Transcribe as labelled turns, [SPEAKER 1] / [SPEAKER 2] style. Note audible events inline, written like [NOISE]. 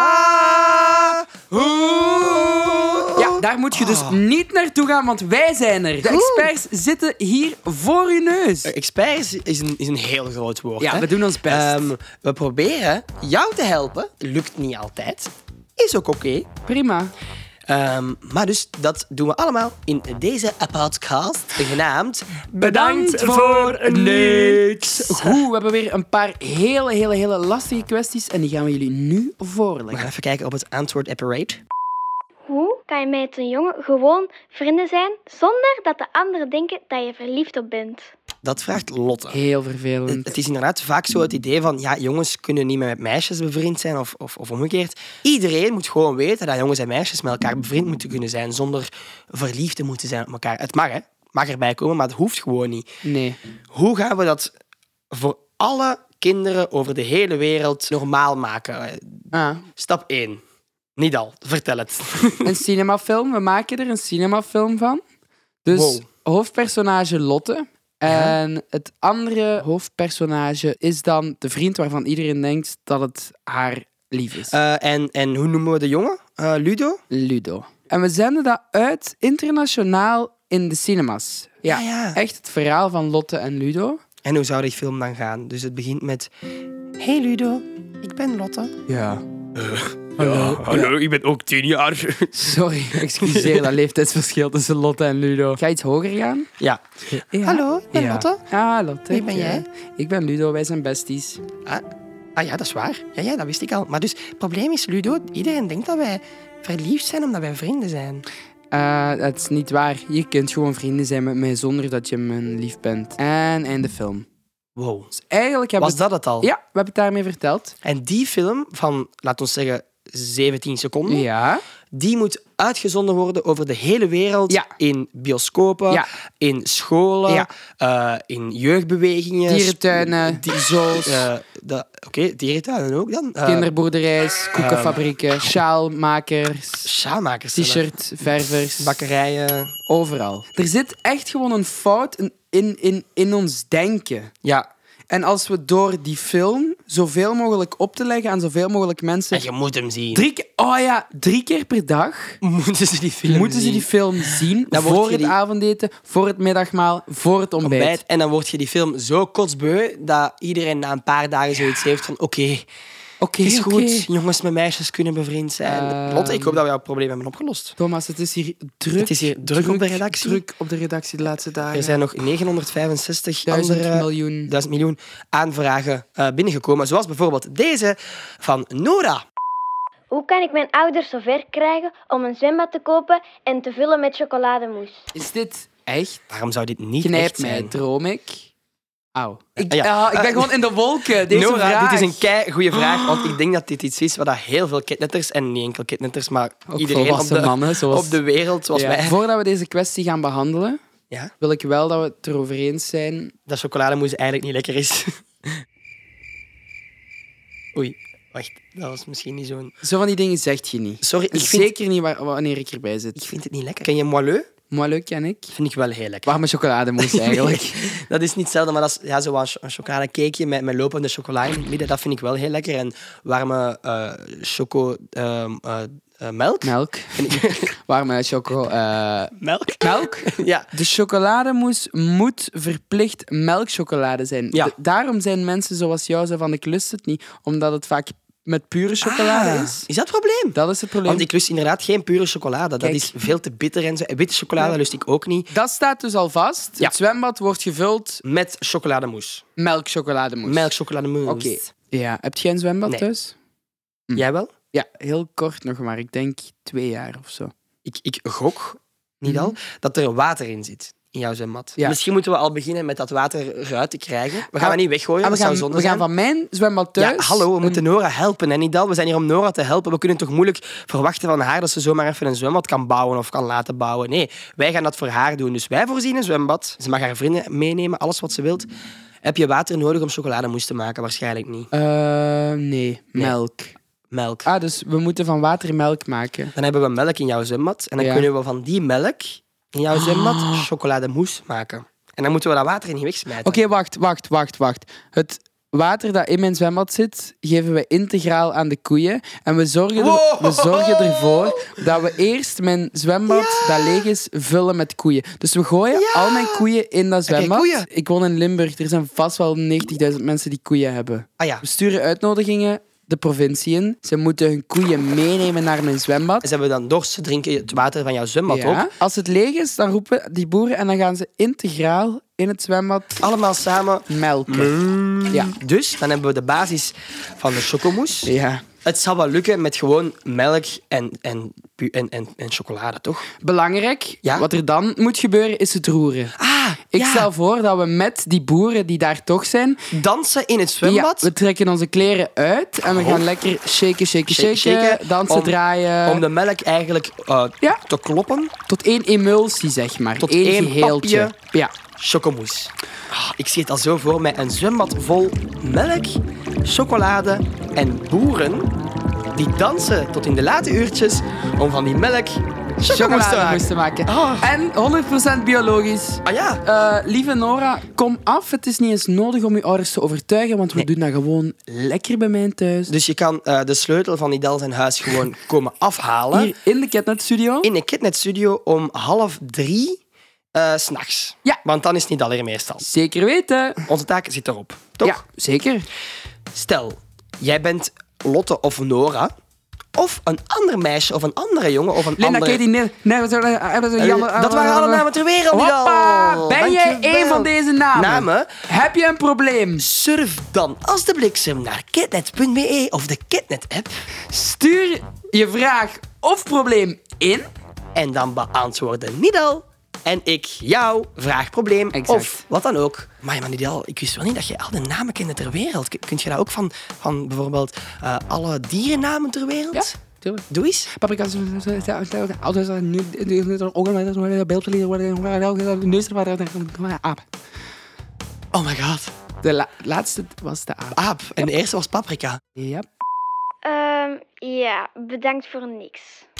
[SPEAKER 1] Mama! Hoe? Ja, daar moet je dus niet naartoe gaan, want wij zijn er. De experts zitten hier voor je neus.
[SPEAKER 2] Eh, Experts is een, is een heel groot woord.
[SPEAKER 1] Ja,
[SPEAKER 2] hè?
[SPEAKER 1] we doen ons best.
[SPEAKER 2] Ehm, we proberen jou te helpen. Lukt niet altijd. Is ook oké.
[SPEAKER 1] Prima.
[SPEAKER 2] Ehm, maar dus dat doen we allemaal in deze podcast genaamd.
[SPEAKER 1] Bedankt voor niks. Goed, we hebben weer een paar hele, hele, hele lastige kwesties en die gaan we jullie nu
[SPEAKER 2] We gaan
[SPEAKER 1] voorleggen.
[SPEAKER 2] even kijken op het antwoordapparaat.
[SPEAKER 3] Hoe kan je met een jongen gewoon vrienden zijn zonder dat de anderen denken dat je verliefd op bent?
[SPEAKER 2] Dat vraagt Lotte.
[SPEAKER 1] Heel vervelend.
[SPEAKER 2] Het is inderdaad vaak zo het idee van, ja, jongens kunnen niet meer met meisjes bevriend zijn of, of, of omgekeerd. Iedereen moet gewoon weten dat jongens en meisjes met elkaar bevriend moeten kunnen zijn zonder verliefd te moeten zijn op elkaar. Het mag, hè. Mag erbij komen, maar het hoeft gewoon niet.
[SPEAKER 1] Nee.
[SPEAKER 2] Hoe gaan we dat voor alle kinderen over de hele wereld normaal maken?
[SPEAKER 1] Ah.
[SPEAKER 2] Stap 1. Niet al, vertel het. [LAUGHS]
[SPEAKER 1] Een cinemafilm. We maken er een cinemafilm van. Dus
[SPEAKER 2] Wow.
[SPEAKER 1] hoofdpersonage Lotte. En het andere hoofdpersonage is dan de vriend waarvan iedereen denkt dat het haar lief is.
[SPEAKER 2] Eh, en, en hoe noemen we de jongen? Eh, Ludo?
[SPEAKER 1] Ludo. En we zenden dat uit internationaal in de cinemas. Ja,
[SPEAKER 2] Ah, ja.
[SPEAKER 1] echt het verhaal van Lotte en Ludo.
[SPEAKER 2] En hoe zou die film dan gaan? Dus het begint met... Hey Ludo, ik ben Lotte.
[SPEAKER 1] Ja.
[SPEAKER 2] Eh, Oh, hallo, ik ben ook tien jaar.
[SPEAKER 1] Sorry, [LAUGHS] excuseer dat leeftijdsverschil tussen Lotte en Ludo. Ga je iets hoger gaan?
[SPEAKER 2] Ja. Hallo, ik ben
[SPEAKER 1] Ja.
[SPEAKER 2] Lotte.
[SPEAKER 1] Ah, Lotte.
[SPEAKER 2] Wie ben
[SPEAKER 1] ja.
[SPEAKER 2] jij?
[SPEAKER 1] Ik ben Ludo, wij zijn besties.
[SPEAKER 2] Ah, ah ja, dat is waar. Ja, ja, dat wist ik al. Maar dus, het probleem is, Ludo, iedereen denkt dat wij verliefd zijn omdat wij vrienden zijn.
[SPEAKER 1] Eh, dat is niet waar. Je kunt gewoon vrienden zijn met mij zonder dat je mijn lief bent. En einde film.
[SPEAKER 2] Wow.
[SPEAKER 1] Dus eigenlijk hebben
[SPEAKER 2] Was
[SPEAKER 1] we...
[SPEAKER 2] dat het al?
[SPEAKER 1] Ja, we hebben het daarmee verteld.
[SPEAKER 2] En die film van, laten we zeggen, 17 seconden,
[SPEAKER 1] Ja.
[SPEAKER 2] die moet uitgezonden worden over de hele wereld.
[SPEAKER 1] Ja.
[SPEAKER 2] In bioscopen,
[SPEAKER 1] Ja.
[SPEAKER 2] in scholen,
[SPEAKER 1] Ja.
[SPEAKER 2] eh, in jeugdbewegingen.
[SPEAKER 1] Dierentuinen,
[SPEAKER 2] die-
[SPEAKER 1] zoos,
[SPEAKER 2] Eh, dat- Oké, dierentuinen ook dan. Eh, eh,
[SPEAKER 1] kinderboerderijs, koekenfabrieken, sjaalmakers,
[SPEAKER 2] Sjaalmakers.
[SPEAKER 1] t-shirt, ververs,
[SPEAKER 2] Bakkerijen.
[SPEAKER 1] overal. Er zit echt gewoon een fout in, in, in, in ons denken.
[SPEAKER 2] Ja.
[SPEAKER 1] En als we door die film zoveel mogelijk op te leggen aan zoveel mogelijk mensen...
[SPEAKER 2] En je moet hem zien.
[SPEAKER 1] Drie, ke- oh ja, drie keer per dag
[SPEAKER 2] Moeten ze die film
[SPEAKER 1] Moeten ze
[SPEAKER 2] zien?
[SPEAKER 1] die film zien
[SPEAKER 2] Dan word
[SPEAKER 1] voor
[SPEAKER 2] je
[SPEAKER 1] het
[SPEAKER 2] die-
[SPEAKER 1] avondeten, voor het middagmaal, voor het ontbijt?
[SPEAKER 2] ontbijt. En dan word je die film zo kotsbeu dat iedereen na een paar dagen zoiets heeft van oké,
[SPEAKER 1] Oké,
[SPEAKER 2] het is
[SPEAKER 1] oké. Ehm.
[SPEAKER 2] goed. Jongens met meisjes kunnen bevriend zijn. Lotte, ik hoop dat we jouw probleem hebben opgelost.
[SPEAKER 1] Thomas, het is hier druk.
[SPEAKER 2] Het is hier druk op de redactie.
[SPEAKER 1] Druk op de redactie de laatste dagen.
[SPEAKER 2] Er zijn nog 965
[SPEAKER 1] duizend
[SPEAKER 2] andere
[SPEAKER 1] miljoen.
[SPEAKER 2] duizend miljoen aanvragen eh, binnengekomen. Zoals bijvoorbeeld deze van Nora.
[SPEAKER 3] Hoe kan ik mijn ouders zover krijgen om een zwembad te kopen en te vullen met chocolademousse?
[SPEAKER 1] Is dit echt?
[SPEAKER 2] Waarom zou dit niet
[SPEAKER 1] Knijp
[SPEAKER 2] echt
[SPEAKER 1] mij,
[SPEAKER 2] zijn?
[SPEAKER 1] droom ik? Auw. Ik,
[SPEAKER 2] Ja.
[SPEAKER 1] ah, ik ben gewoon in de
[SPEAKER 2] [LAUGHS]
[SPEAKER 1] wolken. Deze
[SPEAKER 2] Nora,
[SPEAKER 1] vraag.
[SPEAKER 2] dit is een kei
[SPEAKER 1] [GASPS]
[SPEAKER 2] goede vraag, want ik denk dat dit iets is waar dat heel veel kitnetters, en niet enkel kitnetters, maar
[SPEAKER 1] Ook
[SPEAKER 2] iedereen [LAUGHS] op
[SPEAKER 1] volwassen
[SPEAKER 2] de,
[SPEAKER 1] mannen, zoals-
[SPEAKER 2] op de wereld, zoals
[SPEAKER 1] Ja.
[SPEAKER 2] wij.
[SPEAKER 1] Voordat we deze kwestie gaan behandelen,
[SPEAKER 2] Ja?
[SPEAKER 1] wil ik wel dat we het erover eens zijn.
[SPEAKER 2] dat chocolademousse eigenlijk niet lekker is. [LAUGHS] Oei, wacht. Dat was misschien niet zo'n...
[SPEAKER 1] Zo van die dingen zegt je niet.
[SPEAKER 2] Sorry,
[SPEAKER 1] En
[SPEAKER 2] ik vind,
[SPEAKER 1] Zeker niet waar, wanneer ik erbij
[SPEAKER 2] ik
[SPEAKER 1] zit.
[SPEAKER 2] vind het niet lekker. Ken je moelleux?
[SPEAKER 1] Moi, leuk, en ik.
[SPEAKER 2] Vind ik wel heel lekker.
[SPEAKER 1] Warme [LAUGHS] chocolademousse eigenlijk.
[SPEAKER 2] [LAUGHS] Dat is niet hetzelfde, maar dat is ja, zo'n een chocoladecakeje met, met lopende chocola in het midden. Dat vind ik wel heel lekker. En warme eh choco... ehm, eh, eh, melk?
[SPEAKER 1] Melk.
[SPEAKER 2] Vind
[SPEAKER 1] [LAUGHS]
[SPEAKER 2] ik-
[SPEAKER 1] Warme choco. eh,
[SPEAKER 2] melk?
[SPEAKER 1] melk?
[SPEAKER 2] [LAUGHS] Ja.
[SPEAKER 1] De chocolademousse moet verplicht melkchocolade zijn.
[SPEAKER 2] Ja.
[SPEAKER 1] Da- daarom zijn mensen zoals jou zo van ik lust het niet, omdat het vaak met pure chocolade
[SPEAKER 2] Ah,
[SPEAKER 1] is.
[SPEAKER 2] Is dat het probleem?
[SPEAKER 1] Dat is het probleem.
[SPEAKER 2] Want ik lust inderdaad geen pure chocolade.
[SPEAKER 1] Kijk.
[SPEAKER 2] Dat is veel te bitter en zo. En witte chocolade lust ik ook niet.
[SPEAKER 1] Dat staat dus al vast.
[SPEAKER 2] Ja.
[SPEAKER 1] Het zwembad wordt gevuld
[SPEAKER 2] Met chocolademousse.
[SPEAKER 1] melkchocolademousse.
[SPEAKER 2] Melkchocolademousse.
[SPEAKER 1] Oké. Ja, heb jij een zwembad
[SPEAKER 2] Nee.
[SPEAKER 1] thuis?
[SPEAKER 2] Jij wel?
[SPEAKER 1] Ja, heel kort nog maar. Ik denk twee jaar of
[SPEAKER 2] Ah,
[SPEAKER 1] zo.
[SPEAKER 2] ik, ik gok, niet al, dat er water in zit in jouw zwembad.
[SPEAKER 1] Mhm. Ja.
[SPEAKER 2] Misschien moeten we al beginnen met dat water eruit te krijgen. We gaan
[SPEAKER 1] Ah,
[SPEAKER 2] het niet weggooien,
[SPEAKER 1] Ah, we
[SPEAKER 2] dat
[SPEAKER 1] gaan,
[SPEAKER 2] zou zonde
[SPEAKER 1] we gaan
[SPEAKER 2] zijn.
[SPEAKER 1] van mijn zwembad thuis.
[SPEAKER 2] ja, hallo, we
[SPEAKER 1] een-
[SPEAKER 2] moeten Nora helpen. En Nidal, we zijn hier om Nora te helpen. We kunnen toch moeilijk verwachten van haar dat ze zomaar even een zwembad kan bouwen of kan laten bouwen. Nee, wij gaan dat voor haar doen. Dus wij voorzien een zwembad. Ze mag haar vrienden meenemen, alles wat ze wilt. Heb je water nodig om chocolademousse te maken? Waarschijnlijk niet.
[SPEAKER 1] Eh, nee, melk.
[SPEAKER 2] Melk.
[SPEAKER 1] Ah, dus we moeten van water melk maken.
[SPEAKER 2] Dan hebben we melk in jouw zwembad. En dan
[SPEAKER 1] Ja. Ah.
[SPEAKER 2] kunnen we van die melk in jouw zwembad chocolademousse maken. En dan moeten we dat water in niet wegsmijten.
[SPEAKER 1] Oké, wacht, wacht, wacht, wacht. Het water dat in mijn zwembad zit, geven we integraal aan de koeien. En we zorgen, er-
[SPEAKER 2] Wow.
[SPEAKER 1] we zorgen ervoor dat we eerst mijn zwembad dat leeg is, vullen met koeien. Dus we gooien
[SPEAKER 2] Ja.
[SPEAKER 1] al mijn koeien in dat
[SPEAKER 2] jij
[SPEAKER 1] zwembad.
[SPEAKER 2] koeien?
[SPEAKER 1] Ik woon in Limburg. Er zijn vast wel 90.000 mensen die koeien hebben.
[SPEAKER 2] Ah ja.
[SPEAKER 1] We sturen uitnodigingen de provincie in. Ze moeten hun koeien meenemen naar mijn zwembad.
[SPEAKER 2] Ze hebben dan dorst, ze drinken het water van jouw zwembad
[SPEAKER 1] Ja.
[SPEAKER 2] op.
[SPEAKER 1] Als het leeg is, dan roepen die boeren en dan gaan ze integraal in het zwembad
[SPEAKER 2] Allemaal samen.
[SPEAKER 1] melken. Ja.
[SPEAKER 2] Dus, dan hebben we de basis van de chocomousse.
[SPEAKER 1] ja.
[SPEAKER 2] Het zal wel lukken met gewoon melk en, en, pu- en, en, en chocolade, toch?
[SPEAKER 1] Belangrijk,
[SPEAKER 2] Ja?
[SPEAKER 1] wat er dan moet gebeuren, is het roeren.
[SPEAKER 2] Ah,
[SPEAKER 1] Ik stel voor dat we met die boeren die daar toch zijn,
[SPEAKER 2] Dansen in het
[SPEAKER 1] ja,
[SPEAKER 2] zwembad. Oh.
[SPEAKER 1] we trekken onze kleren uit en we gaan lekker shaken, shaken, shaken,
[SPEAKER 2] shaken,
[SPEAKER 1] dansen,
[SPEAKER 2] om-
[SPEAKER 1] draaien.
[SPEAKER 2] Om de melk eigenlijk eh,
[SPEAKER 1] Ja.
[SPEAKER 2] te kloppen.
[SPEAKER 1] Tot één emulsie, zeg maar.
[SPEAKER 2] Tot
[SPEAKER 1] Eén
[SPEAKER 2] één
[SPEAKER 1] geheeltje.
[SPEAKER 2] papje.
[SPEAKER 1] Ja.
[SPEAKER 2] Chocomousse. Ah, ik zie het al zo voor mij. Een zwembad vol melk, chocolade en boeren die dansen tot in de late uurtjes om van die melk chocomousse te maken.
[SPEAKER 1] moesten maken.
[SPEAKER 2] Ah.
[SPEAKER 1] En 100% biologisch.
[SPEAKER 2] Ah ja.
[SPEAKER 1] Eh, lieve Nora, kom af. Het is niet eens nodig om je ouders te overtuigen, want we doen dat gewoon lekker bij mij thuis.
[SPEAKER 2] Dus je kan eh, de sleutel van Idel zijn
[SPEAKER 1] [LAUGHS]
[SPEAKER 2] huis gewoon komen afhalen.
[SPEAKER 1] Hier in de Catnet Studio.
[SPEAKER 2] in de Kidnet Studio om half drie eh, s'nachts.
[SPEAKER 1] Ja.
[SPEAKER 2] Want dan is het niet alleen meestal.
[SPEAKER 1] Zeker weten.
[SPEAKER 2] Onze taak zit erop. Toch?
[SPEAKER 1] Ja, zeker.
[SPEAKER 2] Stel, jij bent Lotte of Nora. Of een ander meisje of een andere jongen of een
[SPEAKER 1] Linda,
[SPEAKER 2] andere...
[SPEAKER 1] Katie, nee, nee, dat is- eh, dat is
[SPEAKER 2] Eh,
[SPEAKER 1] jammer.
[SPEAKER 2] dat waren alle namen ter wereld,
[SPEAKER 1] Hoppa,
[SPEAKER 2] Idel.
[SPEAKER 1] ben jij
[SPEAKER 2] Dankjewel.
[SPEAKER 1] een van deze namen?
[SPEAKER 2] Namen?
[SPEAKER 1] Heb je een probleem?
[SPEAKER 2] Surf dan als de bliksem naar kidnet.be of de Kidnet-app.
[SPEAKER 1] Stuur je vraag of probleem in.
[SPEAKER 2] En dan beantwoorden Nidal en ik jouw vraag, probleem
[SPEAKER 1] Exact.
[SPEAKER 2] of wat dan ook. Maar man Nidal, ik wist wel niet dat je al de namen kende ter wereld. K- Kunt je dat ook van, van bijvoorbeeld eh, alle dierennamen ter wereld?
[SPEAKER 1] Ja, tuurlijk.
[SPEAKER 2] Doe eens.
[SPEAKER 1] Paprika's, ouders, nu, nu, ook beeld verliezen, neus aap.
[SPEAKER 2] Oh my god.
[SPEAKER 1] De la- laatste was de aap.
[SPEAKER 2] Aap. En de eerste was paprika.
[SPEAKER 1] Ja.
[SPEAKER 3] Ehm, ja, bedankt voor niks.